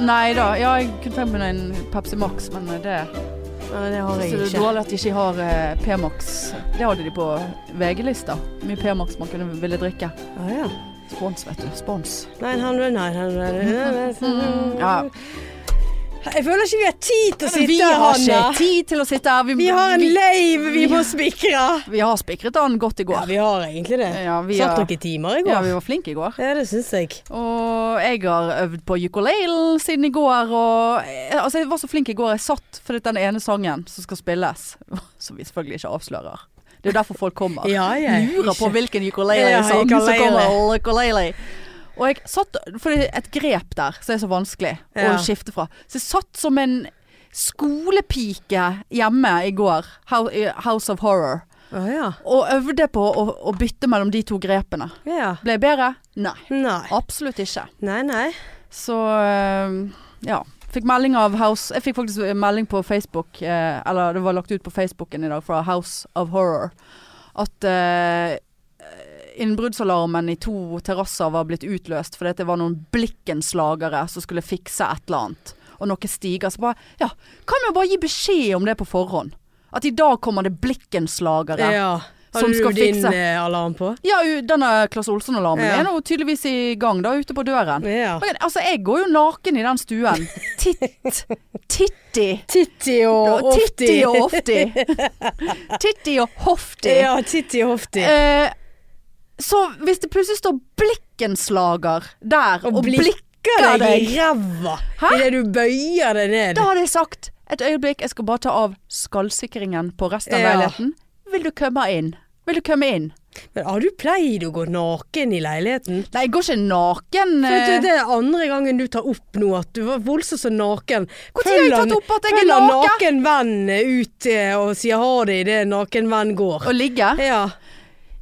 Nei da. Ja, jeg kunne tenkt meg en Pepsi Max, men eh, det Nei, det har jeg synes jeg det er ikke. dårlig at de ikke har eh, P-Max. Det hadde de på VG-lista. Mye P-Max man kunne ville drikke. Ah, ja. Spons, vet du. Spons. Nei, han nei, han Ja. Jeg føler ikke vi har tid til å Mm. Vi sitte her, har ikke Hanna. tid til å sitte her. Vi har en leiv vi må spikre. Vi har spikret den godt i Ja, går. vi har egentlig det. Ja, vi Satt har- noen timer i Ja, går. vi var flinke i går. Ja, det syns jeg. Og jeg har øvd på ukulelen siden i går. Og eh, altså, jeg var så flink i går. Jeg satt for den ene sangen som skal spilles, som vi selvfølgelig ikke avslører. Det er jo derfor folk kommer. Ja, jeg Lurer på hvilken Ja, ukulele-sang som ukulele. kommer. Ukulele. Og jeg satt For det er et grep der som er så vanskelig Ja. å skifte fra. Så jeg satt som en skolepike hjemme i går. Hou- i House of Horror. Å ja. Og øvde på å, å bytte mellom de to grepene. ja. Ble jeg bedre? Nei. Nei. Absolutt ikke. Nei, nei. Så eh, ja. Fikk melding av House Jeg fikk faktisk eh, melding på Facebook, eh, eller det var lagt ut på Facebooken i dag fra House of Horror, at eh, innbruddsalarmen i to terrasser var blitt utløst fordi at det var noen blikkenslagere som skulle fikse et eller annet. Og noen stiger. Så bare Ja, kan vi bare gi beskjed om det på forhånd? At i dag kommer det blikkenslagere. Ja. Som Hadde du skal din fikse. eh, alarm på? Ja, u- denne Claes Olsson-alarmen Ja. er nå tydeligvis i gang da, ute på døren. Ja. Og jeg- Altså, jeg går jo naken i den stuen. Titt. Titti. Titti og Titti og hofti. Titti og hofti. Ja, Titti og Hofti. Eh, så hvis det plutselig står blikkenslager der, og, Og blikk, blikker deg i deg. ræva Hæ? idet du bøyer deg ned. da hadde jeg sagt et øyeblikk, jeg skal bare ta av skallsikringen på resten av Ja. leiligheten. Vil du komme inn? Vil du komme inn? Men har du pleid å gå naken i leiligheten? Nei, jeg går ikke naken. For eh. det, det er andre gangen du tar opp nå at du var voldsomt så naken. Hvor tid har jeg Følger- tatt opp at jeg er følger naken? naken venn ut eh, og sier ha det idet naken venn går. Å ligge? Ja.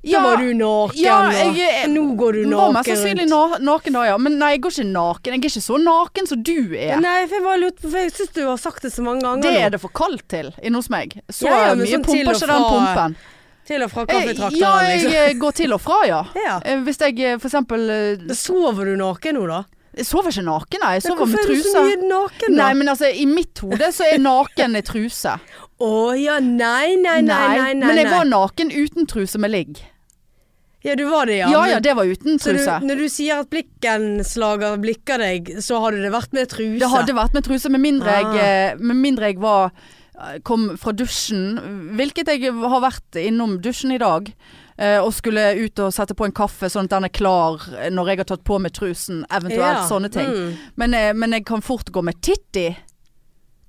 Da Ja. var du naken, Ja, og- jeg- og nå går du Var mest naken sannsynlig na naken da, ja. Men nei, jeg går ikke naken. Jeg er ikke så naken som du er. Nei, for jeg bare lurte på, for jeg syns du har sagt det så mange ganger det nå. er det for kaldt til inne hos meg. Så Ja, ja, men mye sånn til og pumper ikke den fra, pumpen. Til og fra Eh, kaffetrakteren, Ja, jeg liksom. eh, går til og fra, ja. Ja. Eh, Hvis jeg eh, for eksempel eh, Sover du naken nå, da? Jeg sover ikke naken, nei. Jeg sover Hvorfor med er du så mye truse. naken, da? Nei, men altså, i mitt hode så er naken i truse. Å ja, nei, nei, nei, nei, nei, nei. Men jeg var naken uten truse med ligg. Ja, du var det, ja. Ja ja, men- det var uten så truse. du, når du sier at blikkenslager blikker deg, så hadde det vært med truse? Det hadde vært med truse, med mindre Ah. jeg, eh, med mindre jeg var, eh, kom fra dusjen. Hvilket jeg har vært innom dusjen i dag. eh, Og skulle ut og sette på en kaffe, sånn at den er klar eh, når jeg har tatt på meg trusen. Eventuelt Ja, sånne ting. mm. Men, eh, men jeg kan fort gå med titti.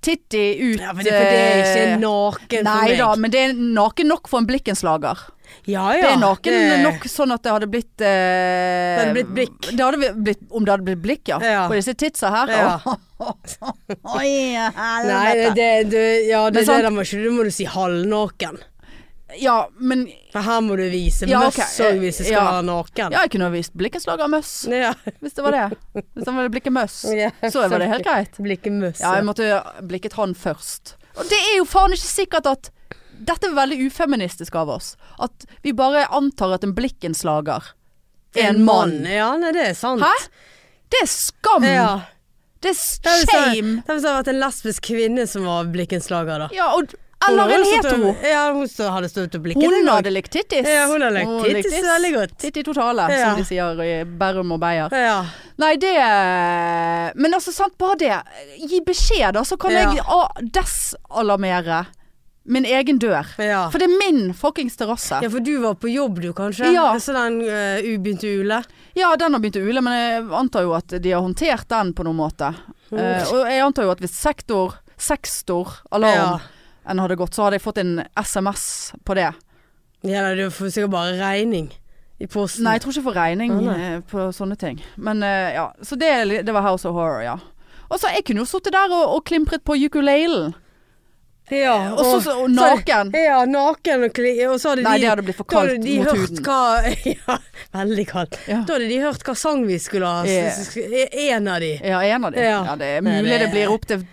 Titti ut Ja, men det, for det er ikke naken naken for Nei meg. da, men det er naken nok for en blikkenslager. ja, ja, det er naken det- nok sånn at det hadde blitt eh, Det hadde blitt blikk. det hadde blitt, om det hadde blitt blikk, ja. Ja. På disse tidsa her. Ja. Oi, helvete. Nei, det, det, du, ja, det, Men det, sant- der må ikke, du må du si halvnaken. Ja, men For her må du vise Ja, ok, møss òg hvis det skal ja. være naken. ja, jeg kunne ha vist blikkenslager møss, Ja. hvis det var det. Hvis det var blikket møss, Ja. så var det helt greit. Blikkemøss. Ja, jeg måtte blikket han først. Og det er jo faen ikke sikkert at Dette er veldig ufeministisk av oss. At vi bare antar at en blikkenslager er en mann. Ja, nei, det er sant. Hæ? Det er skam! Ja. Det Det er er sånn- shame! Det hadde vært en lesbisk kvinne som var blikkenslager, da. Ja, og, eller Hun en hadde stått hetero. og- Ja, hun stå- hadde stått og blikket. Hun hadde likt tittis. Ja, hun hadde likt tittis veldig godt. Titti totale, Ja. som de sier i Bærum og Beyer. Ja. Nei, det Men altså, sant, bare det. Gi beskjed, da, så kan Ja. jeg a- desalarmere min egen dør. Ja. For det er min fuckings terrasse. ja, for du var på jobb du, kanskje? Ja. Så den eh, ubegynte ule? Ja, den har begynt å ule, men jeg antar jo at de har håndtert den på noen måte. Eh, og jeg antar jo at hvis sektor, sekstor, alarm en hadde gått, så hadde jeg fått en SMS på det. Ja, nei, du får sikkert bare regning i posten. Nei, jeg tror ikke jeg får regning Å, nei. eh, på sånne ting. Men eh, ja, så det, er li- det var House of Horror, ja. Og så jeg kunne jo sittet der og, og klimpret på ukulelen. ja, Og så så- og naken. Ja, naken og kli... Og så hadde Nei, de, det hadde blitt for da hadde kaldt de mot hørt huden. Hva, ja, veldig kaldt. Ja. Da hadde de hørt hva sang vi skulle ha. Ja. s- s- s- e- En av de. Ja, en av de. Ja, Ja. det er Nei, mulig det... det- blir opp til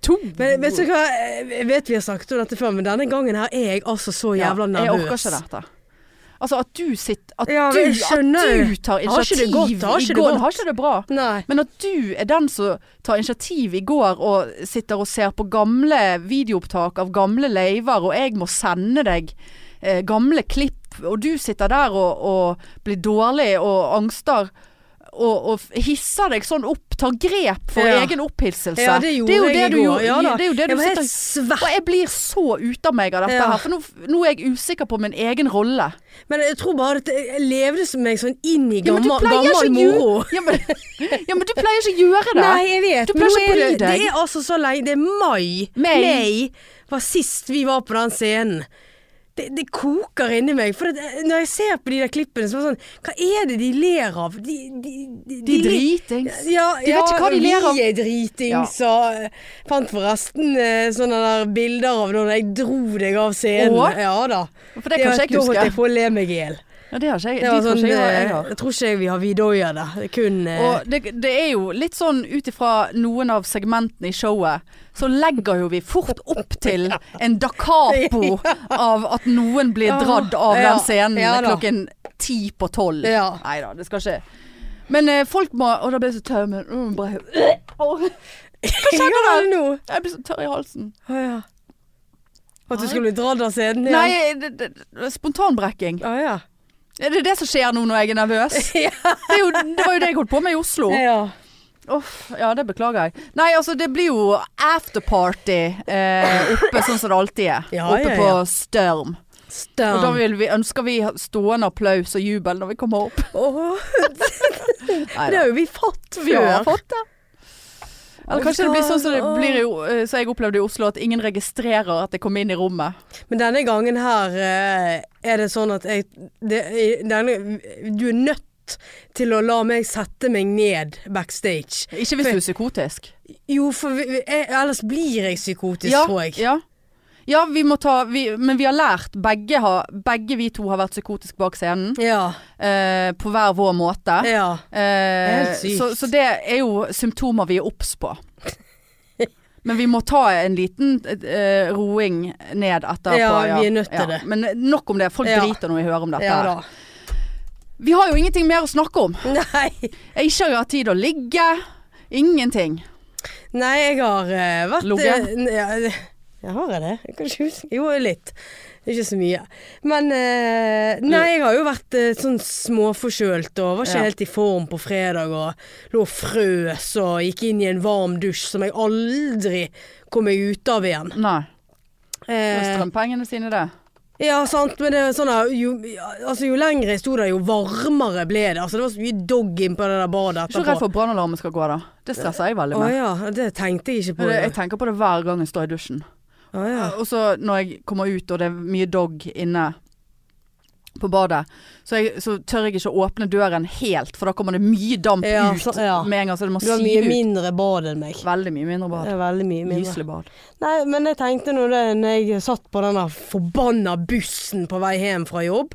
to. Men vet du hva, jeg vet vi har snakket om dette før, men denne gangen her er jeg altså så jævla Jeg nervøs. orker ikke dette. Altså at du sitter At, Ja, du, men jeg skjønner at du Har tar ikke initiativ det i godt, har ikke det går. godt. Har ikke det bra. Nei. Men at du er den som tar initiativ i går og sitter og ser på gamle videoopptak av gamle laver, og jeg må sende deg eh, gamle klipp, og du sitter der og, og blir dårlig og angster. Og, og hisser deg sånn opp, tar grep for Ja. egen opphisselse. Ja, det gjorde er jo jeg Altså, det i du går. gjorde- Ja da. det er jo det du Jeg var sitter helt svett. Og jeg blir så ute av meg av dette Ja. her, for nå, nå er jeg usikker på min egen rolle. Men jeg tror bare at jeg levde som meg sånn inn i Ja, men du gammel, gammel pleier ikke å gjøre- moro. Ja, men, ja, men du pleier ikke å gjøre det. Nei, jeg vet. Du pleier men nå ikke å er bry det, deg. det er altså så lenge. Det er mai. May. var sist vi var på den scenen. Det, det koker inni meg. For at, eh, når jeg ser på de der klippene, så er det sånn Hva er det de ler av? De, de, de, De er ler- dritings. Ja, De vet ja, ikke hva de ler av. Vi er dritings og eh, Fant forresten eh, sånne der bilder av når jeg dro deg av scenen. Å? Ja da. For det kan ikke jeg Da holdt huske. jeg på å le meg i hjel. Ja, det har ikke jeg. Det De var tror sånn ikke jeg, eh, jeg har. Jeg tror ikke vi har Vidoya der. Det er Kun eh, Og det, det er jo litt sånn ut ifra noen av segmentene i showet, så legger jo vi fort opp til en da capo av at noen blir dradd av Ja, den scenen ja da. klokken ti på tolv. Ja. Nei da, det skal ikke Men eh, folk må Å, da ble jeg så tørr i munnen. Mm, bare- Åh, Hva skjedde der nå? Jeg blir så tørr i halsen. Å ja. At du skulle dra av scenen igjen? Nei, det, det, det- spontanbrekking. Å ja. Er det det som skjer nå når jeg er nervøs? Ja. Det, er jo, det var jo det jeg holdt på med i Oslo. ja. Uff, ja det beklager jeg. Nei, altså det blir jo afterparty eh, oppe sånn som det alltid er. Ja, oppe ja, på ja. Størm. Og da Stang. vil vi, ønsker vi stående applaus og jubel når vi kommer opp. Åh, Nei det da. har jo vi fått Vi før. har fått det. Og Eller kanskje det skal- blir sånn som det åh. blir i, O- eh, som jeg opplevde i Oslo, at ingen registrerer at jeg kom inn i rommet. Men denne gangen her eh, er det sånn at jeg det, i- denne, Du er nødt til å la meg sette meg ned backstage. Ikke hvis du er psykotisk. Jo, for vi, vi- jeg, ellers blir jeg psykotisk, Ja, tror jeg. ja. ja vi må ta vi, Men vi har lært, begge, har, begge vi to har vært psykotiske bak scenen. Ja. Eh, på hver vår måte. ja. er Eh, helt sykt. så, så det er jo symptomer vi er obs på. Men vi må ta en liten eh, roing ned etterpå. Ja, vi er nødt til det. Men nok om det. Folk Ja. driter når vi hører om dette. Ja her. da. Vi har jo ingenting mer å snakke om. Nei. Jeg ikke har hatt tid å ligge. Ingenting. Nei, jeg har eh, vært Ligget? eh, n- ja, det- ja, har jeg det? Jeg kan ikke huske. Jo, litt. Ikke så mye. Men eh, Nei, jeg har jo vært eh, sånn småforkjølt og var ikke Ja. helt i form på fredag. Og lå og frøs og gikk inn i en varm dusj som jeg aldri kom meg ut av igjen. Nei. Det var Eh, strømpengene sine, det. ja, sant, men det er sånn at jo, altså, jo lengre jeg sto der, jo varmere ble det. Altså, det var så mye dog inn på det der badet Ikke etterpå. redd for at brannalarmen skal gå, da. Det stresser jeg veldig Å med. ja, det tenkte jeg ikke på. Jeg tenker på det hver gang jeg står i dusjen. Å ja. Og så når jeg kommer ut og det er mye dog inne på badet, så, jeg, så tør jeg ikke å åpne døren helt, for da kommer det mye damp Ja, ut så- ja. med en gang. Så det må Du har si mye ut. mindre bad enn meg. Veldig mye mindre bad. Det er veldig mye mindre. Lyselig bad. Nei, men jeg tenkte nå det når jeg satt på denne forbanna bussen på vei hjem fra jobb.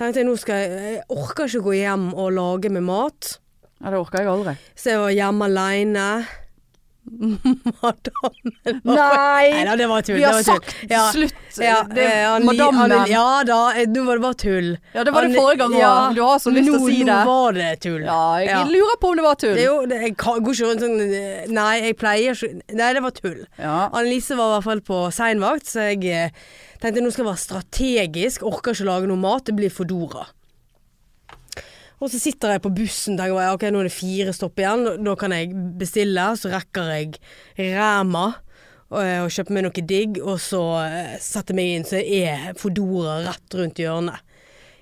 Tenkte jeg nå skal jeg Jeg orker ikke gå hjem og lage meg mat. Ja, det orker jeg aldri. Så jeg var hjemme aleine. Madammen Nei Nei! da, det var tull. Vi det har var tull. sagt Ja, slutt. ja, det, eh, Anni- madammen. Anni- Ja da, eh, nå var det bare tull. Ja, det var det Anni- forrige gang òg. ja, du har så lyst til å nå- si det. Nå var det tull. Ja, jeg Ja. lurer på om det var tull. Det er jo, det, jeg kan- går ikke rundt sånn eh, Nei, jeg pleier ikke Nei, det var tull. Ja. Annelise var i hvert fall på seinvakt, så jeg eh, tenkte nå skal jeg være strategisk. Orker ikke lage noe mat, det blir Foodora. Og så sitter jeg på bussen og tenker jeg, ok, nå er det fire stopp igjen, da, da kan jeg bestille. Så rekker jeg Ræma og, eh, og kjøper meg noe digg, og så eh, setter jeg meg inn, så er Foodora rett rundt hjørnet.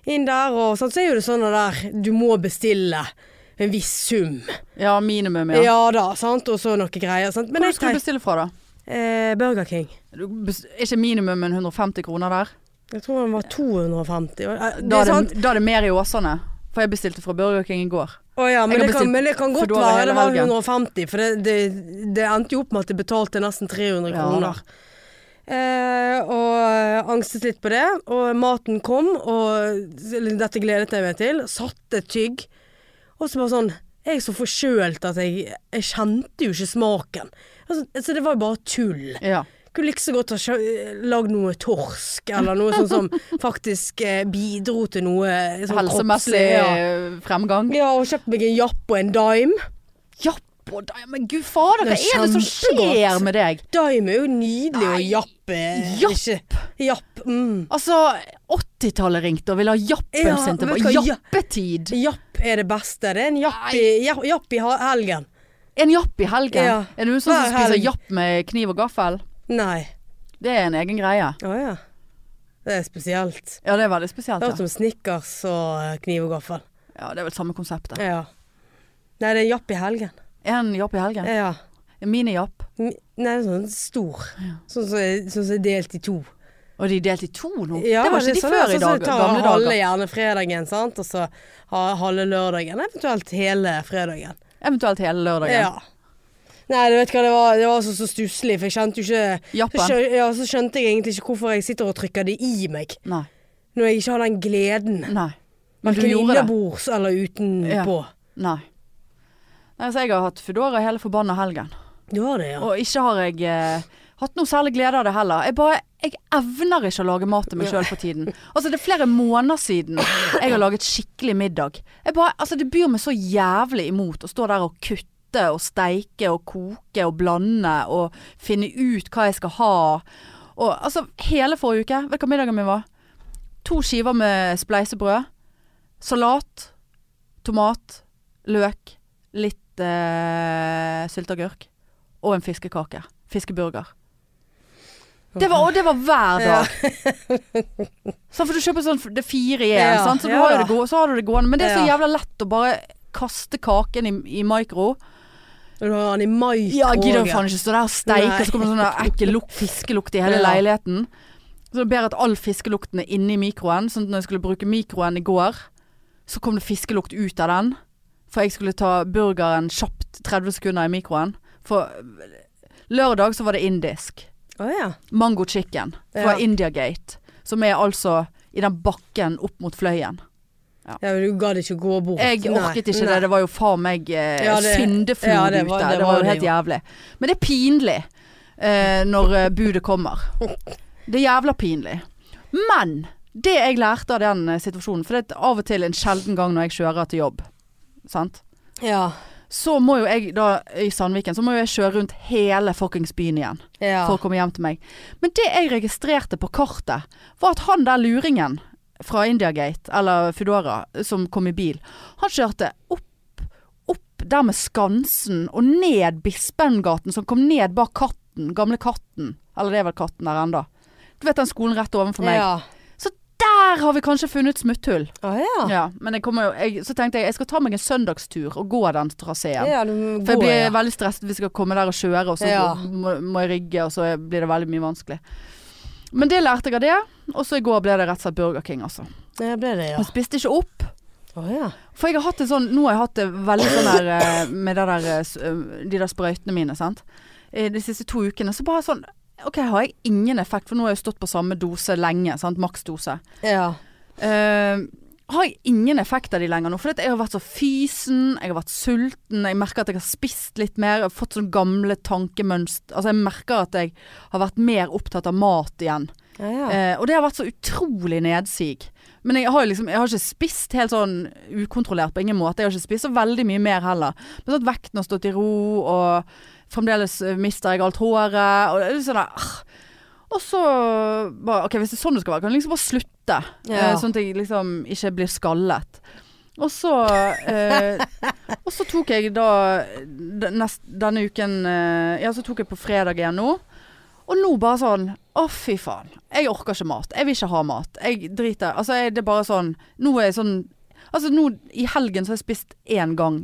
Inn der, og sånn, så er jo det sånn at der, du må bestille en viss sum. ja, minimum, Ja, ja. da, sant, og så noe greier. Sant? Men Hvor jeg skal du tenker bestille fra, da? eh, Burger King. Du bes- Er ikke minimum en 150 kroner der? Jeg tror den var 250. og- eh, Det Da er er sant. det, da er det mer i Åsane. For jeg bestilte fra Burger King i går. Å ja, men, Jeg har det kan, bestilt men det kan godt Foodora være hele det var helgen. 150, for det, det, det endte jo opp med at jeg betalte nesten 300 Ja, kroner. Eh, og eh, angstet litt på det, og maten kom, og dette gledet jeg meg til. Satte tygg. Og så bare sånn Jeg er så forkjølt at jeg, jeg kjente jo ikke smaken. Altså, så det var jo bare tull. Ja. Kunne like så godt ha kjø- lagd noe torsk, eller noe sånt som faktisk eh, bidro til noe eh, sånn Helsemessig kroppslig, ja. eh, fremgang. ja, og kjøpt meg en japp og en dime. Ja, på deg, men gud fader, hva Det er er det som kjempegodt. skjer med deg? Dime er jo nydelig, og Nei. japp er Japp. ikke Japp. Mm. Altså, 80-tallet ringte og ville ha jappen Ja, sin vet du tilbake. hva, ja- Jappetid! Japp er det beste. Det er en japp i, japp, japp i ha- helgen. En japp i helgen. Ja. Er det du sånn som Hver spiser helg. japp med kniv og gaffel? Nei. Det er en egen greie. Å ja. Det er spesielt. Ja, det er veldig Det spesielt. har Ja, vært som snickers og eh, kniv og gaffel. ja det er vel samme konseptet. Ja. Nei, det er japp i helgen. En japp i helgen. Ja. En mini-japp. Mi- Nei, sånn stor. Sånn som er, sånn som er delt i to. Og de er delt i to nå. Ja, det var er ikke de sånn, før sånn i som dag, tar gamle halve dager. gjerne fredagen, sant? og så ha- halve lørdagen. Eventuelt hele fredagen. Eventuelt hele lørdagen. Ja. Nei, du vet hva, det var, det var så, så stusslig, for jeg kjente jo ikke så, Jappen. skjø- ja, så skjønte jeg egentlig ikke hvorfor jeg sitter og trykker det i meg. Nei. Når jeg ikke har den gleden. Nei. Men du Verken gjorde det. innebords eller utenpå. Nei. Nei, så jeg har hatt Foodora hele forbanna helgen. Du har det, ja. Og ikke har jeg eh, hatt noe særlig glede av det heller. Jeg bare jeg evner ikke å lage mat til meg sjøl for tiden. Altså Det er flere måneder siden jeg har laget skikkelig middag. Jeg bare, altså Det byr meg så jævlig imot å stå der og kutte og steike og koke og blande og finne ut hva jeg skal ha. Og altså Hele forrige uke, vet du hva middagen min var? To skiver med spleisebrød. Salat. Tomat. Løk. Litt eh, sylteagurk og en fiskekake. Fiskeburger. Det var, og det var hver dag. Sånn, for du kjøper sånn det er fire i én, Ja, sant? så, du ja har jo da. det gode, så har du det gående. Men det er så Ja. jævla lett å bare kaste kaken i, i mikro. Og du har den i mai. Ja, jeg gidder også. jo faen ikke stå der og steike, Nei. og så kommer det sånn der ekkel lukt, fiskelukt i hele Ja. leiligheten. Så det er bedre at all fiskelukten er inni mikroen. Sånn at når jeg skulle bruke mikroen i går, så kom det fiskelukt ut av den. For jeg skulle ta burgeren kjapt 30 sekunder i mikroen. For eh, lørdag så var det indisk. Å ja. Mango chicken Ja. fra India Gate. Som er altså i den bakken opp mot fløyen. ja. men Du gadd ikke gå bort. Jeg Nei, orket ikke nei. det. Det var jo faen meg eh, Ja, det- syndeflod ja, det var- ute. det Det var var jo det helt jo. jævlig. Men det er pinlig eh, når eh, budet kommer. Det er jævla pinlig. Men det jeg lærte av den eh, situasjonen, for det er av og til en sjelden gang når jeg kjører til jobb, sant? Ja. så må jo jeg da i Sandviken så må jo jeg kjøre rundt hele fuckings byen igjen ja. for å komme hjem til meg. Men det jeg registrerte på kartet, var at han der luringen fra Indiagate, eller Foodora, som kom i bil, han kjørte opp, opp der med Skansen og ned Bispengaten, som kom ned bak Katten, gamle Katten. Eller det er vel Katten der enda. Du vet den skolen rett ovenfor meg. Ja. Ah. Så der har vi kanskje funnet smutthull. Å ja. Ja, men jeg kommer jo, jeg, så tenkte jeg jeg skal ta meg en søndagstur og gå den traseen. Ja, du må For jeg gå, blir ja. veldig stresset hvis jeg skal komme der og kjøre, og så Ja. må, må jeg rygge, og så blir det veldig mye vanskelig. Men det lærte jeg av det, og så i går ble det rett og slett Burger King, altså. Ja, ble det, ja. Jeg spiste ikke opp. Å ja. For jeg har hatt det sånn, nå har jeg hatt det veldig sånn der eh, med det der, eh, s- eh, de der sprøytene mine, sant. Eh, De siste to ukene, så bare sånn, ok, har jeg ingen effekt, for nå har jeg stått på samme dose lenge, sant, maksdose. Ja. Eh, har jeg ingen effekt av de lenger nå. For jeg har vært så fysen, jeg har vært sulten. Jeg merker at jeg har spist litt mer. Jeg har fått sånne gamle tankemønster. Altså, jeg merker at jeg har vært mer opptatt av mat igjen. Ja, ja. Eh, og det har vært så utrolig nedsig. Men jeg har, jo liksom, jeg har ikke spist helt sånn ukontrollert på ingen måte. Jeg har ikke spist så veldig mye mer heller. Men sånn at vekten har stått i ro, og fremdeles eh, mister jeg alt håret. Og det er litt sånn der, ah. Og så bare OK, hvis det er sånn det skal være, kan jeg liksom bare slutte. Ja. Eh, sånn at jeg liksom ikke blir skallet. Og så, eh, og så tok jeg da d- nest, Denne uken eh, Ja, så tok jeg på fredag igjen nå. Og nå bare sånn Å, fy faen. Jeg orker ikke mat. Jeg vil ikke ha mat. Jeg driter Altså, jeg, det er bare sånn Nå er jeg sånn Altså, nå i helgen så har jeg spist én gang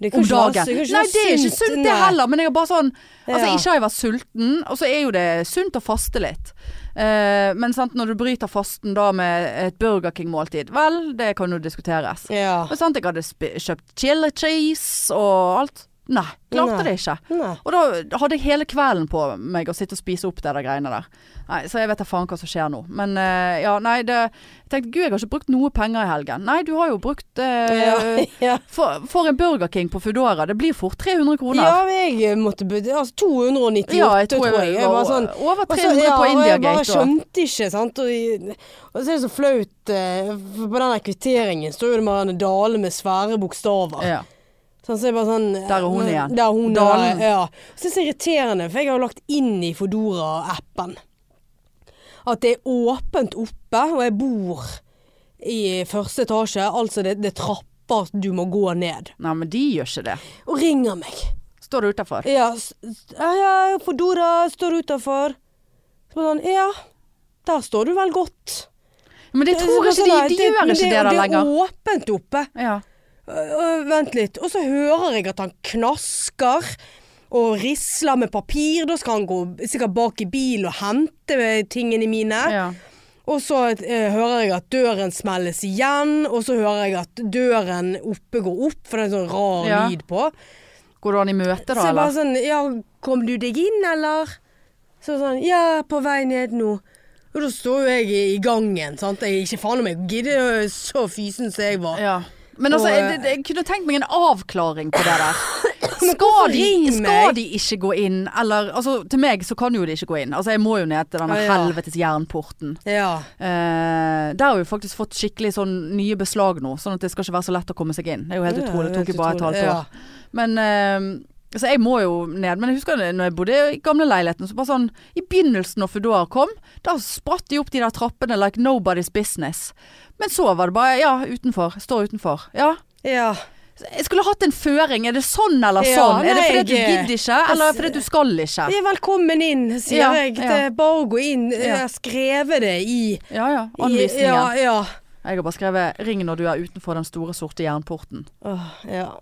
Det kan om ikke være- dagen. kan ikke Nei, være det er ikke sunt det nei. heller, men jeg er bare sånn Altså, Ja. ikke har jeg vært sulten, og så er jo det sunt å faste litt. Eh, men sant, når du bryter fasten da med et Burger King-måltid, vel, det kan jo diskuteres. Ja. Men sant, jeg hadde sp- kjøpt chili cheese og alt. Nei, klarte Nei. det ikke. Nei. Og da hadde jeg hele kvelden på meg å sitte og spise opp det der greiene der. Nei, så jeg vet da faen hva som skjer nå. Men eh, ja, nei, det Jeg tenkte gud, jeg har ikke brukt noe penger i helgen. Nei, du har jo brukt eh, ja. for, for en Burger King på Foodora, det blir fort 300 ja, kroner. jeg måtte bud- Altså 298, tror jeg. jeg var sånn, over Og så- 300 ja, og på Jeg bare Indiagate. og- skjønte ikke, sant. Og, og så er det så flaut. eh, for På den der kvitteringen står jo det Marianne Dale med svære bokstaver. Ja. Sånn, så jeg bare sånn, Der er hun igjen. Der er hun Dalen. Dalen. Ja. Så det er så irriterende, for jeg har jo lagt inn i Fodora-appen at det er åpent oppe, og jeg bor i første etasje, altså det, det er trapper du må gå ned. Nei, men de gjør ikke det. Og ringer meg. Står du utafor? Ja, s- s- ja, ja Fodora står utafor. Så bare sånn, ja, der står du vel godt. Men det tror Så jeg ikke bare sånn, de, de det- gjør men ikke det- det der lenger. Det er åpent oppe. Ja. Øh, øh, vent litt. Og så hører jeg at han knasker og risler med papir. Da skal han gå sikkert bak i bil og hente eh, tingene mine. Ja. Og så eh, hører jeg at døren smelles igjen, og så hører jeg at døren oppe går opp, for det er en sånn rar Ja. lyd på. Går du an i møte Så da, jeg bare eller? sånn Ja, kom du deg inn, eller? Så sånn Ja, på vei ned nå. Og da står jo jeg i, i gangen, sant. Jeg ikke faen om jeg gidder øh, så fysen som jeg var. Ja. Men altså, Og, jeg, det- det- jeg kunne tenkt meg en avklaring på det der. Skal hvorfor de, ring skal meg? de ikke gå inn, eller altså, Til meg så kan jo de ikke gå inn. Altså, jeg må jo ned til denne Ja, ja. helvetes jernporten. ja. Eh, der har vi faktisk fått skikkelig sånn nye beslag nå, sånn at det skal ikke være så lett å komme seg inn. Det er jo helt Ja, utrolig. Det tok helt jo bare et halvt utrolig. år. Men eh, så jeg må jo ned. Men jeg husker det, når jeg bodde i gamle leiligheten, så bare sånn I begynnelsen når Foodora kom, da spratt de opp de der trappene like nobody's business. Men så var det bare Ja, utenfor. Står utenfor. Ja. Ja. Jeg skulle hatt en føring. Er det sånn eller Ja, sånn? er det nei, fordi at du jeg- gidder ikke, eller fordi at du skal ikke? Ja, velkommen inn, sier Ja, jeg. ja. Det er bare å gå inn. Jeg Ja. har skrevet det i Ja ja, i- anvisningen. Ja, ja. Jeg har bare skrevet 'ring når du er utenfor den store, sorte jernporten'. Åh, ja.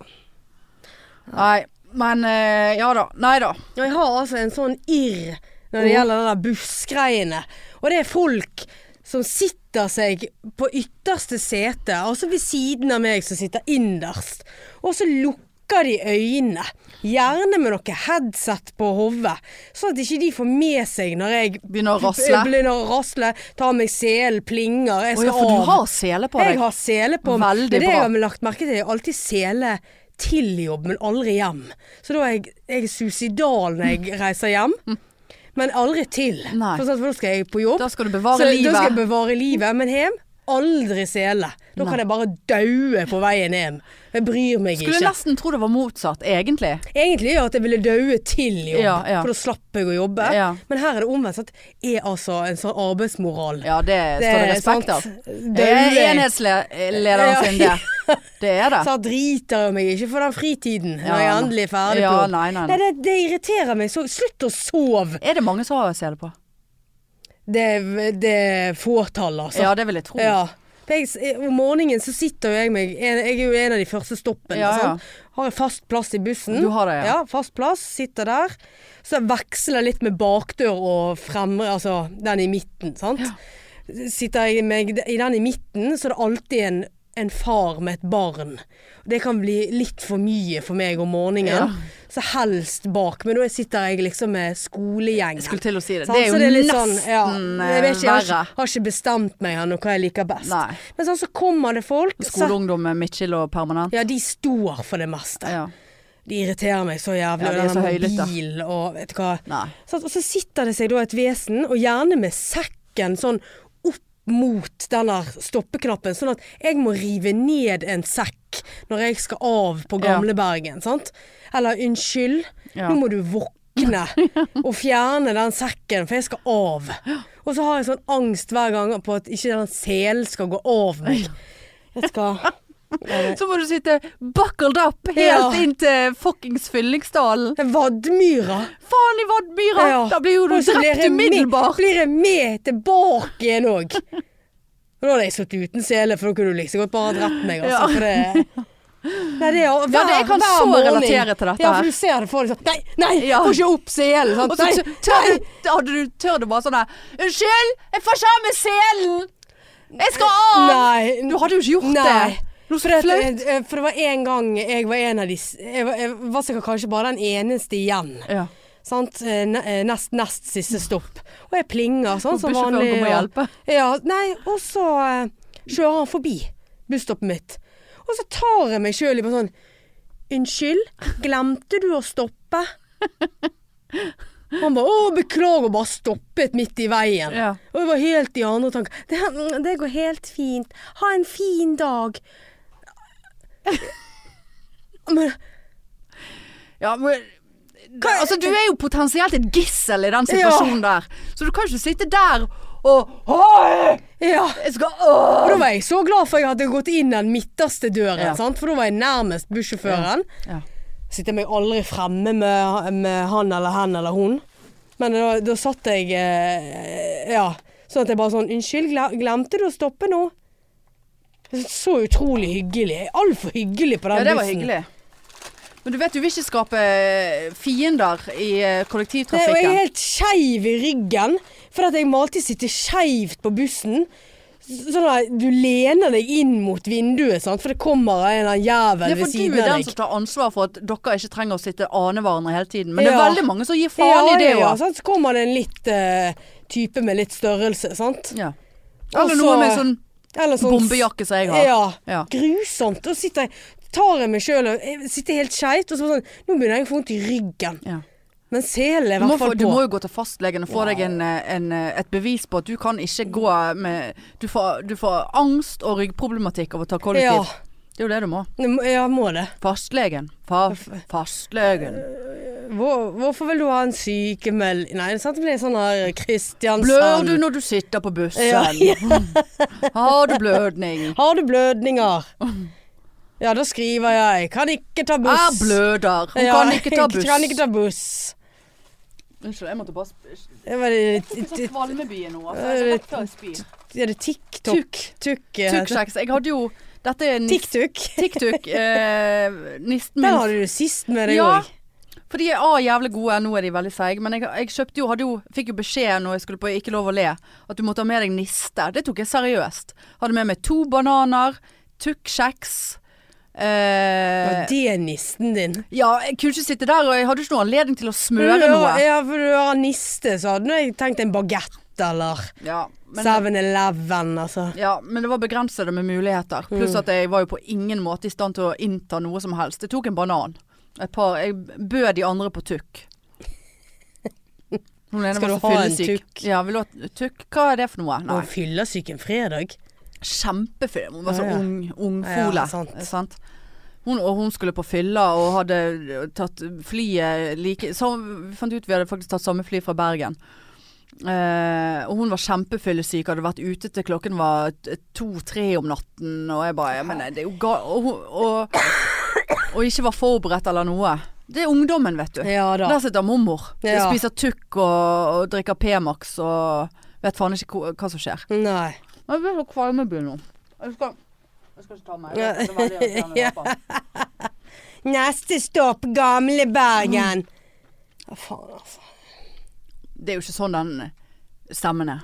Nei, men eh, ja da. Nei da. Og jeg har altså en sånn irr når det Åh. gjelder den der bussgreiene. Og det er folk som sitter seg på ytterste sete, altså ved siden av meg som sitter innerst, og så lukker de øynene. Gjerne med noe headset på hodet, sånn at ikke de får med seg når jeg Begynner å rasle. begynner å rasle, tar meg selen, plinger, jeg Å ja, skal for du av. har sele på Jeg deg. har sele på. Veldig men det bra. jeg har lagt merke til, er alltid sele til jobb, men aldri hjem. Så da er jeg, jeg er suicidal når jeg reiser hjem, men aldri til. Nei. For, sånn, for da skal jeg på jobb. Da skal du så bevare da skal jeg livet. bevare livet, men hjem aldri sele. Da Nei. kan jeg bare daue på veien hjem. Jeg bryr meg Skulle ikke. nesten tro det var motsatt, egentlig. Egentlig er det at jeg ville daue til jobb, Ja, ja. for da slapp jeg å jobbe. Ja. Men her er det omvendt. sant? Jeg er altså en sånn arbeidsmoral. Ja, det, står det respekt av. Det er Daue. enhetslederen Ja. sin, det. Det er det. Så jeg driter jeg meg ikke for den fritiden Ja. når jeg endelig er ferdig Ja, på jobb. nei, nei, nei. det, det irriterer meg så. Slutt å sove! Er det mange som har sele på? Det, det er fåtall, altså. Ja, det vil jeg tro. Ja. For Jeg, om morgenen så sitter jo jeg meg en- Jeg er jo en av de første stoppene. Ja, ja. sant? Har en fast plass i bussen. Du har det, ja. Fast plass. Sitter der. Så jeg veksler litt med bakdør og fremre, altså den i midten, sant. Sitter jeg meg i den i midten, så er det alltid en, en far med et barn. Det kan bli litt for mye for meg om morgenen. Ja. Så helst bak. Men da sitter jeg liksom med skolegjengen. Skulle til å si det. Sant? Sånn Det er jo Så litt sånn, nesten eh, ja, jeg vet ikke, jeg har verre. ikke- har ikke bestemt meg ennå hva jeg liker best. Nei. Men sånn så kommer det folk så, Skoleungdom med midtskill og permanent. Ja, de står for det meste. Ja. De irriterer meg så jævlig. Ja, de er og den så høylytte. mobilen og vet du hva. Nei. Sånn, og så sitter det seg da et vesen, og gjerne med sekken sånn opp mot den der stoppeknappen, sånn at jeg må rive ned en sekk når jeg skal av på Ja. Gamlebergen, sant? Eller unnskyld, Ja. nå må du våkne og fjerne den sekken, for jeg skal av. Og så har jeg sånn angst hver gang på at ikke den selen skal gå av meg. Jeg skal Så må du sitte buckled up helt Ja. inn til fuckings Fyllingsdalen. Vadmyra! Faen i Vadmyra! Ja. Da blir jo du Og så blir drept jeg med- umiddelbart. Blir jeg med tilbake igjen òg. Nå hadde jeg sittet uten sele, for da kunne du like så godt bare ha drept meg. Altså, Ja. for det... Nei, det er hver, Ja, det- jeg kan hver så morgen. relatere til dette Ja, her. for du ser det for deg sånn Nei, nei, Ja. får ikke opp selen! Og sant? så Nei, tør- tør du, hadde du, tør du bare sånn her Unnskyld, jeg får ikke av meg selen! Jeg skal av! nei, Du hadde jo ikke gjort nei. det. Noe For, så flaut. det, eh, for det var en gang jeg var en av de s- Jeg var, jeg var sikkert kanskje bare den eneste igjen. Ja. Sant? Eh, ne- eh, Nest nest siste stopp. Og jeg plinger sånn som Bussjåføren vanlig. kommer og og- hjelper. Ja, nei, og så eh, kjører han forbi busstoppet mitt. Og så tar jeg meg sjøl i bare sånn Unnskyld, glemte du å stoppe? Han bare 'Å, beklager', bare stoppet midt i veien. Ja. Og jeg var helt i andre tanker. Det, mm, det går helt fint. Ha en fin dag. Men Ja, men Altså, du er jo potensielt et gissel i den situasjonen der. Så du kan ikke sitte der og Hei! Ja. Jeg skal Åh! Og da var jeg så glad for jeg hadde gått inn den midterste døren, Ja. sant? for da var jeg nærmest bussjåføren. Ja. Sitter jeg meg aldri fremme med, med han eller hen eller hun. Men da, da satt jeg eh, Ja. Sånn at jeg bare sånn Unnskyld, gle- glemte du å stoppe nå? Så utrolig hyggelig. Jeg er Altfor hyggelig på den ja, det var bussen. hyggelig. Men du vet du vil ikke skape eh, fiender i Det, og eh, jeg er kollektivtrafikken. helt skeiv i ryggen, for at jeg må alltid sitte skeivt på bussen. S- Sånn at du lener deg inn mot vinduet, sant? for det kommer en eller annen Ja, jævel for ved du siden er av den deg. som tar ansvar for at dere ikke trenger å sitte ane hverandre hele tiden. Men det er Ja. veldig mange som gir faen i det ja, òg. sant? Så kommer det en litt eh, type med litt størrelse, sant. Ja. Og Eller noe så- med sånn Eller sånn bombejakke som jeg har. Ja. Ja. Grusomt. Da sitter jeg, tar jeg meg sjøl og jeg sitter helt skeivt, og så bare sånn Nå begynner jeg å få vondt i ryggen. Ja. Men selen er i Du, må hvert få, fall du på. må jo gå til fastlegen og få deg en, eh, en, eh, et bevis på at du kan ikke gå med Du får, du får angst og ryggproblematikk av å ta ja, kollektiv. Det er jo det du må. jeg må- jeg må det. Fastlegen. Fa fastlegen. Hvor, hvorfor vil du ha en sykemelding Nei, sant? det blir sånn her Kristiansand. Blør du når du sitter på bussen? Sånn. Ja, Har du blødning? Har du blødninger? Ja, da skriver jeg. Kan ikke ta buss. Jeg bløder. Ah, Hun Ja, kan ikke ta buss. Kan ikke ta buss. Unnskyld, jeg måtte bare sp- Det var det, Jeg fikk sånn kvalmebie nå. altså. Eh, Jeg vet hva jeg spyr. ja, det TikTok. Tuk. eh, Tuk-kjeks. Jeg hadde jo Dette er en TikTok. tuk-tuk. Eh, nisten Den min hadde du sist med deg Ja. òg. For de er A jævlig gode, nå er de veldig seige. Men jeg, jeg kjøpte jo, hadde jo, fikk jo beskjed når jeg skulle på Ikke lov å le, at du måtte ha med deg niste. Det tok jeg seriøst. Hadde med meg to bananer, tukkjeks eh, Det er nisten din. Ja, jeg kunne ikke sitte der, og jeg hadde ikke noen anledning til å smøre Ja, noe. Ja, for du har niste, så hadde jeg tenkt en bagett eller Ja, men, 7-Eleven, altså. ja, men det var begrensede med muligheter. Pluss Mm. at jeg var jo på ingen måte i stand til å innta noe som helst. Jeg tok en banan. Et par, jeg bød de andre på tukk. Hun ene Skal var du så ha en fyllesyk. tukk? Ja, vil du ha tukk? Hva er det for noe? Nei. Og fyllesyk en fredag. kjempefilm. Hun var så Ja, ja. ung, ung Ja, ja, fole. sant. eh, sant? Hun, og hun skulle på fylla og hadde tatt flyet like så, Vi fant ut vi hadde faktisk tatt samme fly fra Bergen. Eh, og hun var kjempefyllesyk, hadde vært ute til klokken var to-tre om natten. Og jeg bare ja, men det er jo ga og, hun- og, og ikke var forberedt eller noe. Det er ungdommen, vet du. Ja da. Der sitter mormor. Ja. Spiser tukk og, og drikker P-Max og vet faen ikke hvor- hva som skjer. Nei. Jeg blir så kvalmebyen nå. Jeg skal, jeg skal ikke ta meg. Det er veldig irriterende i hvert fall. Neste stopp, gamle Bergen. Mm. Ja, faen, altså. Det er jo ikke sånn den stemmen er.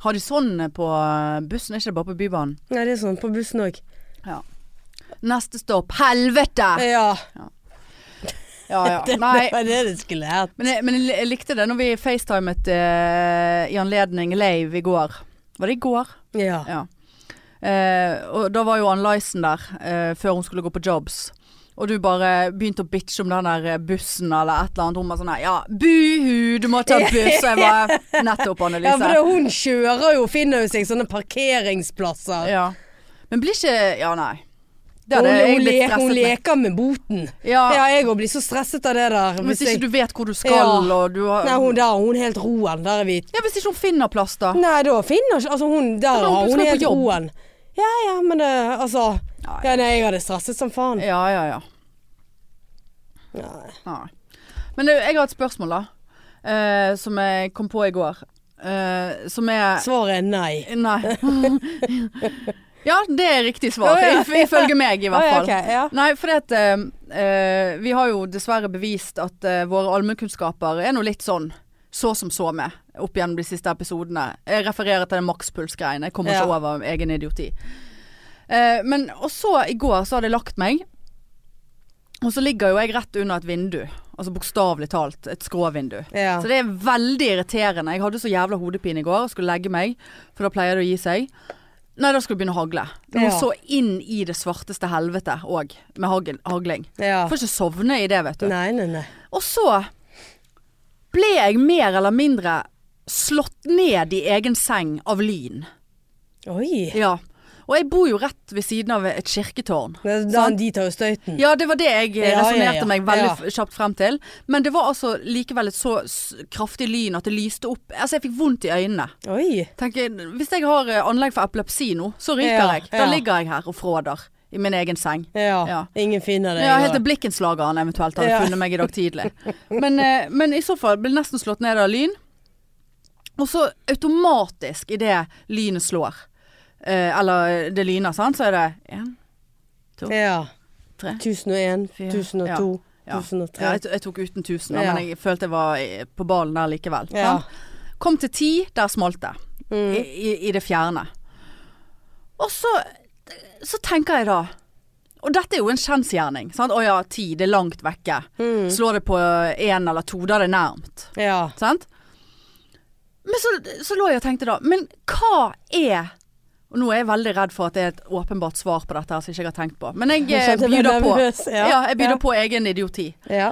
Har de sånn på bussen, er ikke det bare på Bybanen? Nei, det er sånn på bussen òg. Neste stopp, helvete! Ja. Ja, ja. Ah. Nei, Det var det det skulle hett. men jeg, men jeg likte det når vi facetimet eh, i anledning Lave i går. Var det i går? Ja. Ja. Eh, og da var jo Ann Lysen der eh, før hun skulle gå på jobs. Og du bare begynte å bitche om den der eh, bussen eller et eller annet. Hun var sånn her ja, buhu, du må ta buss. Og jeg var nettopp Ja, for det, Annelise. hun kjører jo, finner jo seg sånne parkeringsplasser. Ja. Men blir ikke Ja, nei. Det hun, hadde jeg hun, blitt le, hun stresset med. leker med boten. Ja, Ja, jeg òg blir så stresset av det der. Ah. hvis jeg- ikke du vet hvor du skal, Ja. og du har Nei, hun der, hun er helt roen. Der er vi Ja, hvis ikke hun finner plass, da. Nei, da finner ikke Altså, hun der Men hun har hun skal er på helt jobb. roen. Ja ja, men det, altså Nei. ja, Nei, jeg hadde stresset som faen. Ja, ja, ja. Nei. Nei. Men eh, jeg har et spørsmål, da. eh, som jeg kom på i går. eh, som er Svaret er nei. Nei. ja, det er riktig svar. Ja, ja. If- Ifølge meg, i hvert Ja, ja, fall. ok, ja. Nei, for at, eh, eh, vi har jo dessverre bevist at eh, våre allmennkunnskaper er noe litt sånn så som så med opp gjennom de siste episodene. Jeg refererer til den makspuls-greien. Jeg kommer Ja. ikke over egen idioti. Eh, men og så i går så hadde jeg lagt meg, og så ligger jo jeg rett under et vindu. Altså bokstavelig talt et skråvindu. Ja. Så det er veldig irriterende. Jeg hadde så jævla hodepine i går og skulle legge meg, for da pleier det å gi seg. Nei, da skulle det begynne å hagle. Det var Ja. så inn i det svarteste helvete òg, med hagl- hagling. ja. Får ikke sovne i det, vet du. Nei, nei, nei. Og så ble jeg mer eller mindre slått ned i egen seng av lyn. Oi. Ja. Og jeg bor jo rett ved siden av et kirketårn. Da, da, Sant. de tar jo støyten. Ja, det var det jeg Ja, ja, resonnerte ja. meg veldig Ja. f- kjapt frem til. Men det var altså likevel et så s- kraftig lyn at det lyste opp. Altså, jeg fikk vondt i øynene. Oi. Tenker, hvis jeg har eh, anlegg for epilepsi nå, så ryker Ja, jeg. Da ja. ligger jeg her og fråder i min egen seng. Ja. Ja. Ingen finner det. Ja, i helt til dag. blikkenslageren eventuelt hadde Ja. funnet meg i dag tidlig. Men, eh, men i så fall ble jeg nesten slått ned av lyn. Og så automatisk idet lynet slår, eh, eller det lyner, sant, så er det én, ja. tre 1001, Fire. 1002, Ja. 1003. ja, jeg, jeg tok uten tusen, da, Ja. men jeg følte jeg var eh, på ballen der likevel. Ja. sant? Kom til ti, der smalt det. Mm. I, i, I det fjerne. Og så, så tenker jeg da Og dette er jo en kjensgjerning. Sant? Å ja, ti, det er langt vekke. Mm. Slår det på én eller to, da er det nærmt. ja. Sant? Men så, så lå jeg og tenkte da, men hva er Og nå er jeg veldig redd for at det er et åpenbart svar på dette her som ikke jeg har tenkt på. Men jeg, Jeg eh, kjente jeg ble byr på. nervøs, ja. Ja, jeg byr Ja. på egen idioti. Ja.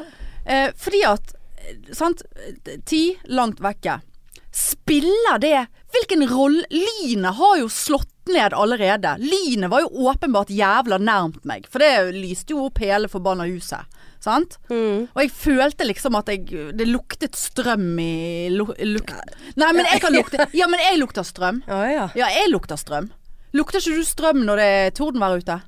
Eh, fordi at eh, Sant? Ti langt vekke. Spiller det Hvilken rolle Lynet har jo slått ned allerede. Lynet var jo åpenbart jævla nærmt meg, for det lyste jo opp hele forbanna huset. Sant? Mm. Og jeg følte liksom at jeg Det luktet strøm i lu, lukt. Nei, men jeg kan lukte Ja, men jeg lukter strøm. Å ja. Ja, jeg lukter strøm. Lukter ikke du strøm når det er tordenvær ute?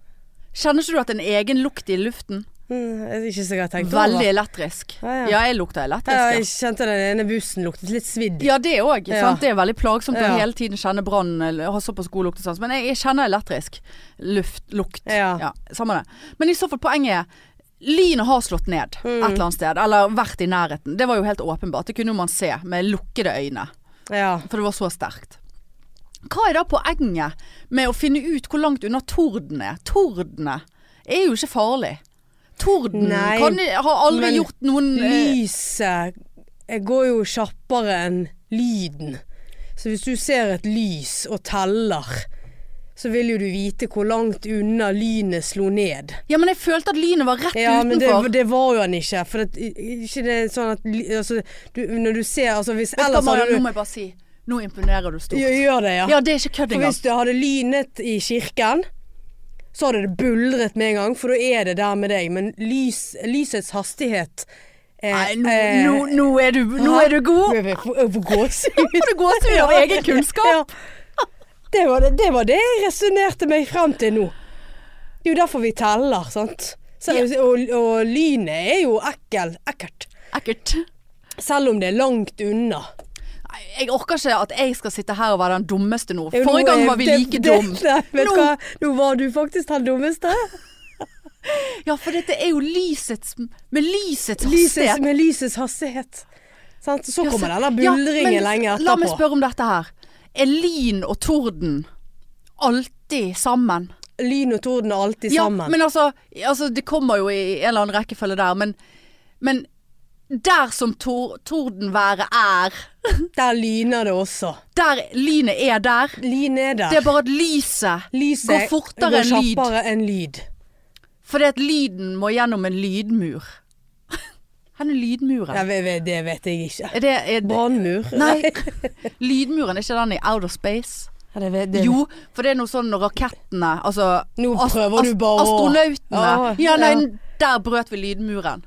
Kjenner ikke du at det er en egen lukt i luften? Mm, jeg er ikke så jeg har tenkt Veldig elektrisk. Ja, ja. Ja, jeg lukter Ja, elektrisk. jeg kjente den ene bussen luktet litt svidd. Ja, det òg. Ja. sant? Det er veldig plagsomt Ja. å hele tiden kjenne brann eller ha såpass god luktesans. Men jeg, jeg kjenner elektrisk luft, lukt. Ja. Ja, samme det. Men i så fall, poenget er Lynet har slått ned Mm. et eller annet sted, eller vært i nærheten. Det var jo helt åpenbart. Det kunne jo man se med lukkede øyne, Ja. for det var så sterkt. Hva er da poenget med å finne ut hvor langt unna torden er? Tordenet er jo ikke farlig. Torden Nei, kan, har aldri men gjort noen eh, Lyset eh, går jo kjappere enn lyden. Så hvis du ser et lys og teller, så vil jo du vite hvor langt unna lynet slo ned. Ja, men jeg følte at lynet var rett Ja, men utenfor. det, det var jo han ikke. For det, ikke det er sånn at ly- altså, du, Når du ser altså, hvis, Vet du hva, Ellers hadde Marianne, nå du må jeg bare si Nå imponerer du stort. Gjør- Gjør det, ja. Ja, det er ikke altså. kødd For engang. hvis du hadde lynet i kirken, så hadde det buldret med en gang, for da er det der med deg. Men lys, lysets hastighet eh, Nei, nå, eh, nå, nå, er du, nå er du god. Jeg får- jeg får gåsehud. Nå får du gåsehud av egen kunnskap. Ja. Det var det, det var det jeg resonnerte meg frem til nå. Det er jo derfor vi teller, sant. Så, og, og lynet er jo ekkel, ekkelt. Ekkelt. Selv om det er langt unna. Nei, Jeg orker ikke at jeg skal sitte her og være den dummeste nå. Jo, Forrige nå gang er- var vi det- like det- dum. Nei, vet du Nå- hva? Nå var du faktisk den dummeste. Ja, for dette er jo lysets Med lysets Lyset, hastighet. med lysets hastighet. Sant? Så Ja, kommer så- denne Ja, buldringen men lenge etterpå. La meg spørre om dette her. Er lyn og torden alltid sammen? Lyn og torden er alltid Ja, sammen. men altså, altså Det kommer jo i en eller annen rekkefølge der, men, men der som tor tordenværet er, Der lyner det også. der lynet er der, Lyn er der. det er bare at lyset Lyset går fortere går enn lyd. kjappere enn lyd. Fordi at lyden må gjennom en lydmur. Hvor er lydmuren? Nei, ve- ve- det vet jeg ikke. Er det er, det- Brannmur? Nei. Lydmuren, er ikke den i outer space? Ja, det vet- det- Jo, for det er noe sånn når rakettene Altså Nå ast- prøver du ast- bare å- Astronautene. Åh, Ja, nei, ja. der brøt vi lydmuren.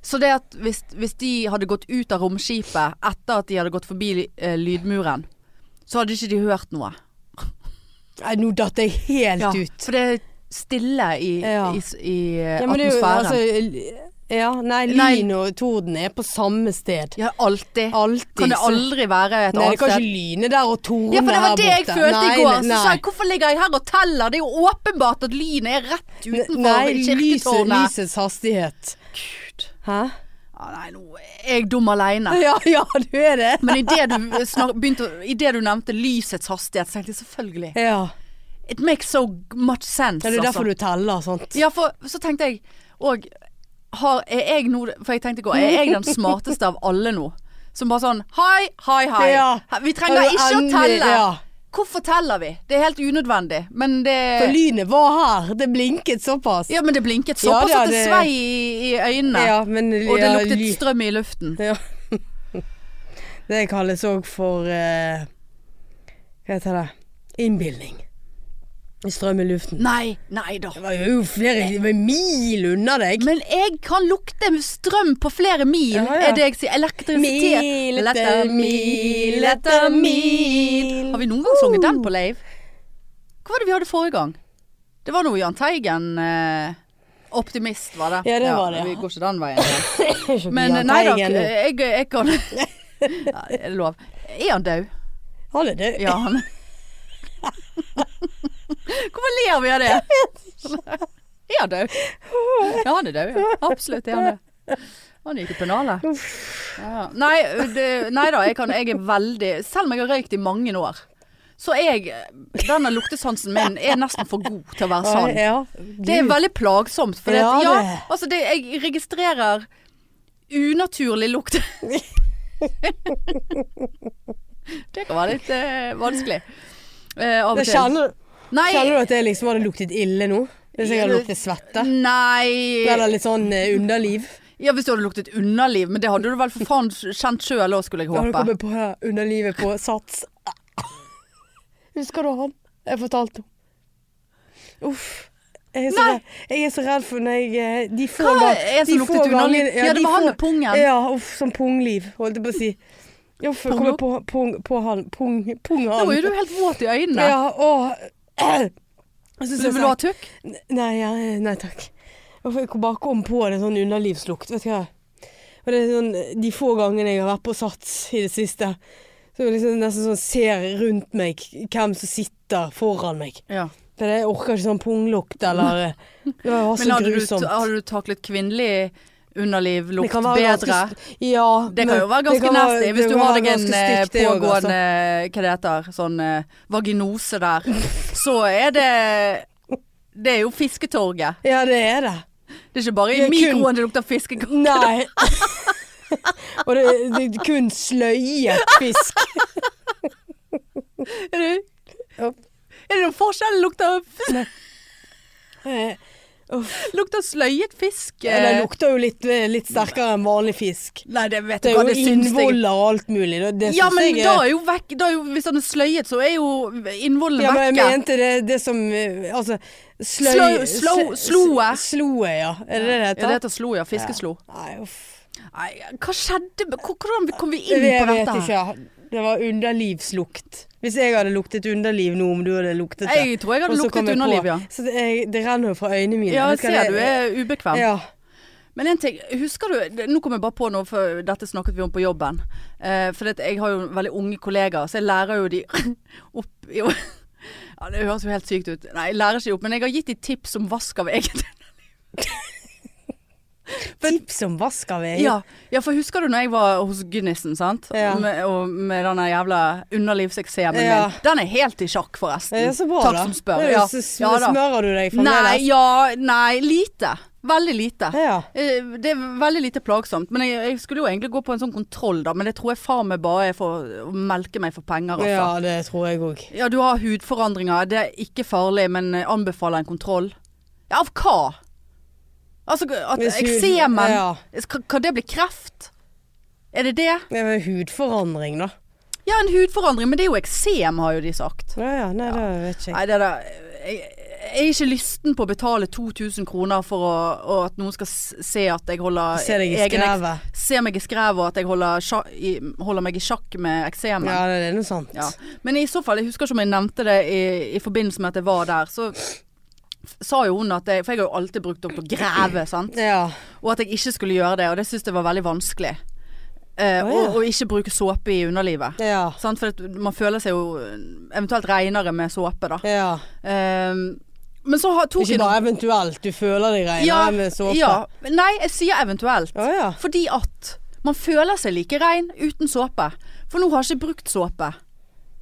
Så det at hvis, hvis de hadde gått ut av romskipet etter at de hadde gått forbi eh, lydmuren, så hadde ikke de hørt noe. Nei, nå datt jeg helt Ja, ut. For det er stille i, Ja. i, s- i eh, Ja, men det er jo, atmosfæren. altså, ja, nei, Nei. lyn og torden er på samme sted. ja, alltid. Alltid. Kan det så- aldri være et Nei, det annet kan sted? ikke lyne der og torden Ja, for det her var det jeg borte. følte Nei, i går. Så nei. sa jeg hvorfor ligger jeg her og teller? Det er jo åpenbart at lynet er rett utenfor Nei, lyset, kirketårnet. lysets hastighet. Gud. Hæ? Ja, nei, nå er jeg dum alene. Ja, ja, du er det. Men idet du, snak- begynte å- i det du nevnte lysets hastighet, så tenkte jeg selvfølgelig. Ja. It makes so much sense. Ja, det er altså. derfor du teller, sant. Ja, for så tenkte jeg òg har, Er jeg nå For jeg tenkte i går, er jeg den smarteste av alle nå? Som bare sånn Hei, hei, hei. Ja. Vi trenger Har du ikke å endelig- telle. ja. Hvorfor teller vi? Det er helt unødvendig. Men det For lynet var her. Det blinket såpass. Ja, men det blinket Ja, såpass ja, at det det- svei i, i øynene. Ja, men Og det ja, luktet ly- strøm i luften. Ja. det kalles òg for eh, Hva heter det? Innbilning. Strøm i luften. Nei, nei da. Det var jo flere det var mil unna deg. Men jeg kan lukte strøm på flere mil, Ja, ja. er det jeg sier. Elektrisitet. Mil etter mil etter mil. Har vi noen gang sunget den på Leiv? Hva var det vi hadde forrige gang? Det var noe Jahn Teigen eh, Optimist, var det. Ja, det var det, men ja. Vi går ikke den veien. Men Men nei da, eh, jeg, jeg kan ja, Er det lov? Er han død? Han er død. Ja, han Hvorfor ler vi av det? Er han død? Ja, han er død, ja. Absolutt er han det. Han gikk i pennalet. Ja. Nei, det, nei da, jeg, kan, jeg er veldig Selv om jeg har røykt i mange år, så er jeg Denne luktesansen min er nesten for god til å være sann. Ja, sånn. Det er du- veldig plagsomt. For Ja, at, ja, det. altså det, jeg registrerer unaturlig lukt. det kan være litt eh, vanskelig. eh, av og Det til. kjenner, Nei, kjenner du at det liksom hadde luktet ille nå? Hvis jeg hadde luktet svette? Eller nei litt sånn eh, underliv? Ja, hvis du hadde luktet underliv, men det hadde du vel for faen kjent sjøl òg, skulle jeg Har du håpe. kommet på eh, underlivet på Sats? Husker du han? Jeg fortalte om. Uff. Jeg er, så Nei. redd, jeg er så redd for når jeg eh, De få Hva gang- er en som de luktet få underliv? gangene- Ja, det de var han få- med pungen. Ja, uff, sånn pungliv, holdt jeg på å si. Uff, jeg kommer på, pung, på han. Pung, pung Nå han. er du helt våt i øynene. Ja, åh. Jeg synes det Så du er vil ha så- tukk? Nei, ja, eh, nei takk. Uff, Jeg kom bare kom på en sånn underlivslukt, vet du hva. Og det er sånn, de få gangene jeg har vært på Sats i det siste, så jeg liksom nesten sånn ser rundt meg hvem som sitter foran meg. Ja. For jeg orker ikke sånn punglukt eller eh, Det var Men så hadde du, grusomt. hadde du taklet kvinnelig Det underlivlukt kan være bedre? ganske st- ja, Det men kan jo være det ganske kan være- nasty det hvis du kan har være deg en ganske eh, stygt, det også, altså. pågående Hva det heter sånn eh, vaginose der. Så er det Det er jo fisketorget. Ja, det er det. Det er ikke bare Det i er kun- mikroen det lukter fiskekake. Nei. Og det, det er kun sløyet fisk. Er det- Ja. er det noen forskjell? Lukter, f- Eh, lukter sløyet fisk Ja, eh, det lukter jo litt, litt sterkere enn vanlig fisk. Nei, det vet Det jeg hva er det jo syns jeg. innvoller og alt mulig. Det, det Ja, synes men jeg da er jo vekk da er jo, Hvis han er sløyet, så er jo innvollene ja, men jeg vekke. mente det, det som eh, Altså sløy... Slø- slå- s- sloe. s- Sloe, ja. Er det det det Ja, det heter? heter slo, ja. Fiskeslo. Nei, uff. Nei, hva skjedde? med- Hvordan kom vi Jeg inn på vet dette? her? ikke. Det var underlivslukt. Hvis jeg hadde luktet underliv nå, om du hadde luktet det Jeg tror jeg hadde Og så kom luktet jeg på- underliv, ja. Så det, jeg, det renner jo fra øynene mine. Ja, jeg Vet hva ser det- du er ubekvem. Ja. Men en ting, husker du det- Nå kom jeg bare på noe, for dette snakket vi om på jobben. Eh, for det, at jeg har jo veldig unge kollegaer, så jeg lærer jo de opp i ja, Det høres jo helt sykt ut. Nei, jeg lærer ikke de opp, men jeg har gitt de tips om vask av eget Tips om vask av øyne. ja, ja, for husker du når jeg var hos Gunnisen, sant? Ja. Med, og med denne jævla underlivseksemen Ja. min. Den er helt i sjakk, forresten. Det er så bra, Takk da. som spør. Det er jo Ja. Så sm- Ja, da. smører du deg Nei, fremdeles. ja, nei, lite. Veldig lite. Ja. Eh, Det er veldig lite plagsomt. Men jeg, jeg skulle jo egentlig gå på en sånn kontroll, da. Men det tror jeg far meg bare er for å melke meg for penger, ja, altså. det tror jeg òg. Ja. du har hudforandringer. Det er ikke farlig, men jeg anbefaler en kontroll. Ja, av hva? Altså, at Hvis hud- eksemen ja. kan, kan det bli kreft? Er det det? Det var hudforandring, da. Ja, en hudforandring, men det er jo eksem, har jo de sagt. Ja, ja, nei, det vet ikke jeg. Nei, det der jeg, jeg er ikke lysten på å betale 2000 kroner for å, og at noen skal s- se at jeg holder Se deg i egen eks- skrevet. Se meg i skrevet og at jeg holder, sja- i, holder meg i sjakk med eksemen. Ja, det er noe sant. Ja. Men i så fall, jeg husker ikke om jeg nevnte det i, i forbindelse med at jeg var der, så f- sa jo hun at jeg, For jeg har jo alltid brukt doktor Greve, sant. Ja. Og at jeg ikke skulle gjøre det, og det syntes jeg var veldig vanskelig. Eh, Å, og, ja. og ikke bruke såpe i underlivet. Ja. Sant? For at man føler seg jo eventuelt renere med såpe, da. ja. Ehm, men så har, tok Ikke jeg noen- bare eventuelt, du føler deg rein Ja, med såpe. Ja, nei, jeg sier eventuelt. Å, ja. Fordi at man føler seg like rein uten såpe. For nå har jeg ikke brukt såpe.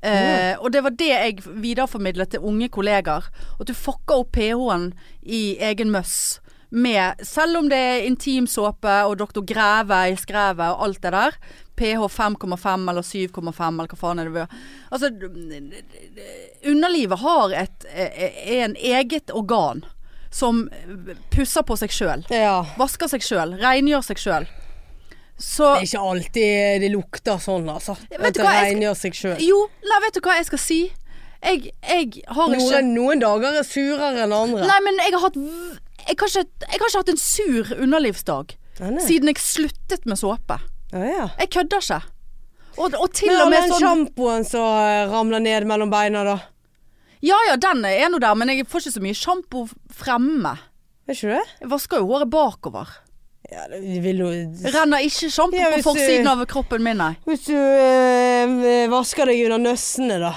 Eh, og det var det jeg videreformidlet til unge kollegaer. At du fucker opp pH-en i egen møss. Med, selv om det er intimsåpe og Dr. Greve i skrevet og alt det der. pH 5,5 eller 7,5 eller hva faen er det vi Altså, underlivet har et, er en eget organ som pusser på seg sjøl. Ja. Vasker seg sjøl. Rengjør seg sjøl. Det Så er ikke alltid det lukter sånn, altså. Vet At du det hva, jeg skal- rengjør seg sjøl. Jo, nei, vet du hva jeg skal si? Jeg, jeg har ikke Noen, noen dager er surere enn andre. Nei, men jeg har hatt v- jeg har, ikke, jeg har ikke hatt en sur underlivsdag Nei, nei. siden jeg sluttet med såpe. Ja, ja. Jeg kødder ikke. Og, og til Men og all med den sånn sjampoen som eh, ramler ned mellom beina, da. Ja ja, den er nå der, men jeg får ikke så mye sjampo fremme. Er ikke det? Jeg vasker jo håret bakover. Ja, det vil jo Renner ikke sjampo Ja, på hvis du- forsiden av kroppen min, nei. Hvis du eh, vasker deg under nøssene, da.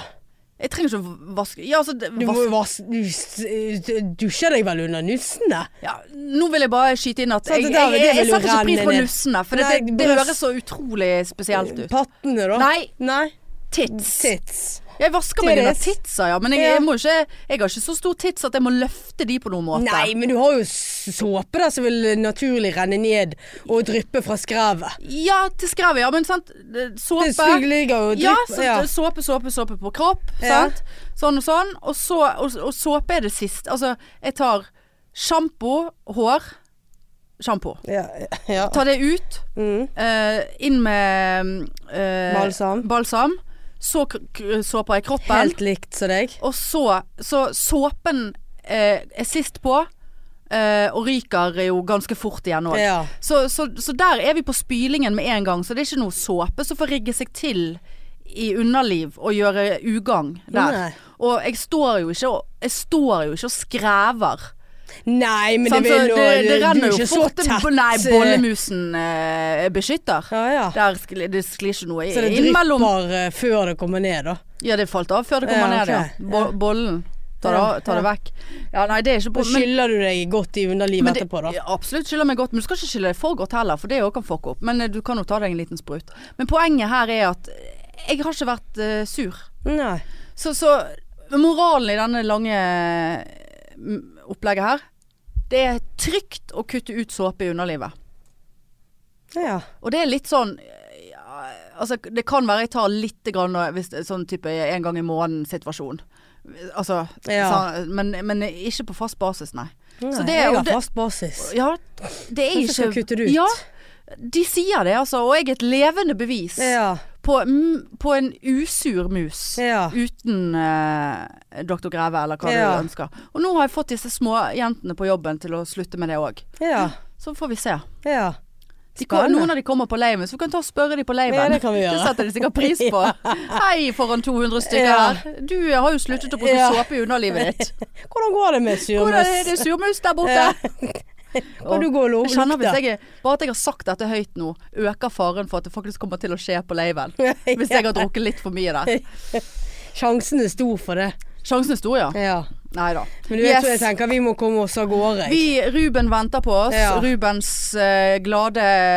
Jeg trenger ikke å vaske Ja, altså det- Du må vas jo vaske Du s- dusjer deg vel under nussene? ja, Nå vil jeg bare skyte inn at Sant, jeg, jeg, det der- jeg, det jeg vil jo setter ikke pris renne på ned. nussene, for Nei, det, det bryst- høres så utrolig spesielt ut. Pattene, da? Nei, Nei? tits. Tits. Jeg vasker meg under Tittis. titsa, ja. Men jeg, Ja. jeg, må ikke, jeg har ikke så stor tits at jeg må løfte de på noen måte. Nei, men du har jo s- såpe der som vil naturlig renne ned og dryppe fra skrevet. Ja, til skrevet, ja. Men sant. det- Såpe. Det sug- ligger jo og ja, drypper. sant? såpe, såpe, såpe på kropp. Ja. Sant? Sånn og sånn. Og, så, og, og såpe er det siste. Altså, jeg tar sjampo, hår, sjampo. ja. ja. Ta det ut. Mm. eh, inn med eh, Balsam. balsam. Så k- k- såper jeg kroppen. Helt likt som deg. Og så Så såpen eh, er sist på, eh, og ryker jo ganske fort igjen òg. Ja. Så, så, så der er vi på spylingen med en gang, så det er ikke noe såpe som får rigge seg til i underliv og gjøre ugagn der. Nei. Og jeg står jo ikke og, jeg står jo ikke og skrever. Nei, men Sant, det så vil jo det, det du er renner jo ikke så fort en- tett, Nei, eh, bollemusen eh, beskytter. Ja, ja. Der skli, det sklir ikke noe Så det inn mellom drypper eh, før det kommer ned, da. Ja, det falt av før det kommer Ja, ned, ja. ok. Bo Bollen. Ta det, av- ta det Ja. vekk. Ja, nei, det er ikke Og på men- skyller du deg godt i underlivet men det- etterpå, da. ja, Absolutt, skyller meg godt. Men du skal ikke skylle deg for godt heller, for det òg kan fucke opp. Men eh, du kan jo ta deg en liten sprut. Men poenget her er at eh, jeg har ikke vært eh, sur. Nei. Så, så moralen i denne lange mm, opplegget her, det er trygt å kutte ut såpe i underlivet. Ja. Og det er litt sånn eh, ja, Altså, det kan være jeg tar litt grann, og hvis, det er sånn type en gang i måneden-situasjon. Altså, Ja. sa- men, men ikke på fast basis, nei. Så det- jeg og har det- fast basis. Ja, det er Hvorfor skal ikke jeg kutte det ut? Ja, de sier det, altså. Og jeg er et levende bevis Ja. på, mm, på en usur mus. ja. Uten eh, Dr. Greve, eller hva Ja. du ønsker. Og nå har jeg fått disse små jentene på jobben til å slutte med det òg. Ja. Så får vi se. ja. De kom, Spennende. noen av de kommer på leimen, så vi kan ta og spørre de på leimen. Ja, det kan vi gjøre. setter de sikkert pris på. Hei, foran 200 stykker Ja. her. Du har jo sluttet å bruke Ja. såpe i underlivet ditt. Hvordan går det med Hvordan er surmus? det surmus der borte? Ja. Kan du gå og Jeg kjenner hvis lukte? jeg, er- Bare at jeg har sagt dette høyt nå, øker faren for at det faktisk kommer til å skje på leiven. Hvis jeg har drukket litt for mye der. Sjansen er stor for det. Sjansen er stor, ja. Ja. Nei da. Men du vet Yes. hva jeg tenker, vi må komme oss av gårde. jeg. Vi, Ruben venter på oss. Ja. Rubens eh, glade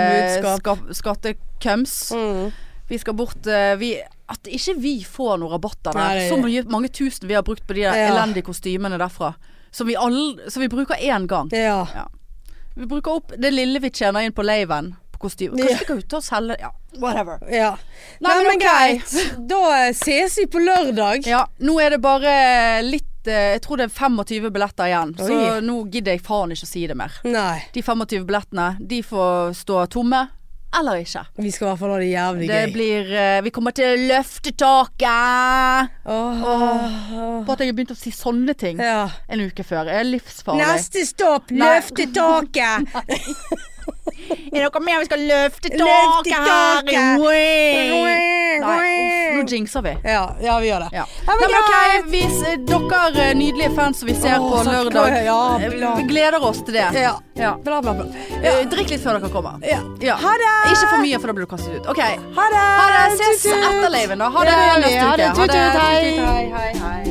Budskap. ska- skattekøms. Mm. Vi skal bort eh, vi, At ikke vi får noen rabatter der. Nei, det- Så mye, mange tusen vi har brukt på de der Ja. elendige kostymene derfra. Som vi, all, som vi bruker én gang. Ja. Vi bruker opp det lille vi tjener inn på laven på kostyme. Kanskje vi kan ut og selge Ja, whatever. ja. Nei, men ok. Da eh, ses vi på lørdag. Ja, nå er det bare litt eh, Jeg tror det er 25 billetter igjen, så Oi. nå gidder jeg faen ikke å si det mer. Nei. De 25 billettene, de får stå tomme. Eller ikke. Vi skal i hvert fall ha det jævlig Det gøy. blir eh, Vi kommer til å løfte taket. Åh. På at jeg har begynt å si sånne ting Ja. en uke før. Jeg er livsfarlig. Neste stopp, Nei. løfte taket! Er det noe mer vi skal løfte Løfte taket her? taket. Oi. Nei, uff, nå jinxer vi. Ja, ja, vi gjør det. Ja. Ja, men Nei, men greit. ok, vi, s- dere eh, nydelige fans som vi ser Åh, på sant, lørdag, ja, eh, bla. vi gleder oss til det. Ja. Ja. Bla, bla, bla. Eh, Drikk litt før dere kommer. Ja. Ja. Ha det! Ikke for mye, for da blir du kastet ut. OK. Ha det! Ha det. Tut, Ses tut. etter laven, da. Ha Ja, det det gjør vi. neste Ha det. uke. Tut, tut. Hei. Tut, tut. hei, hei. hei.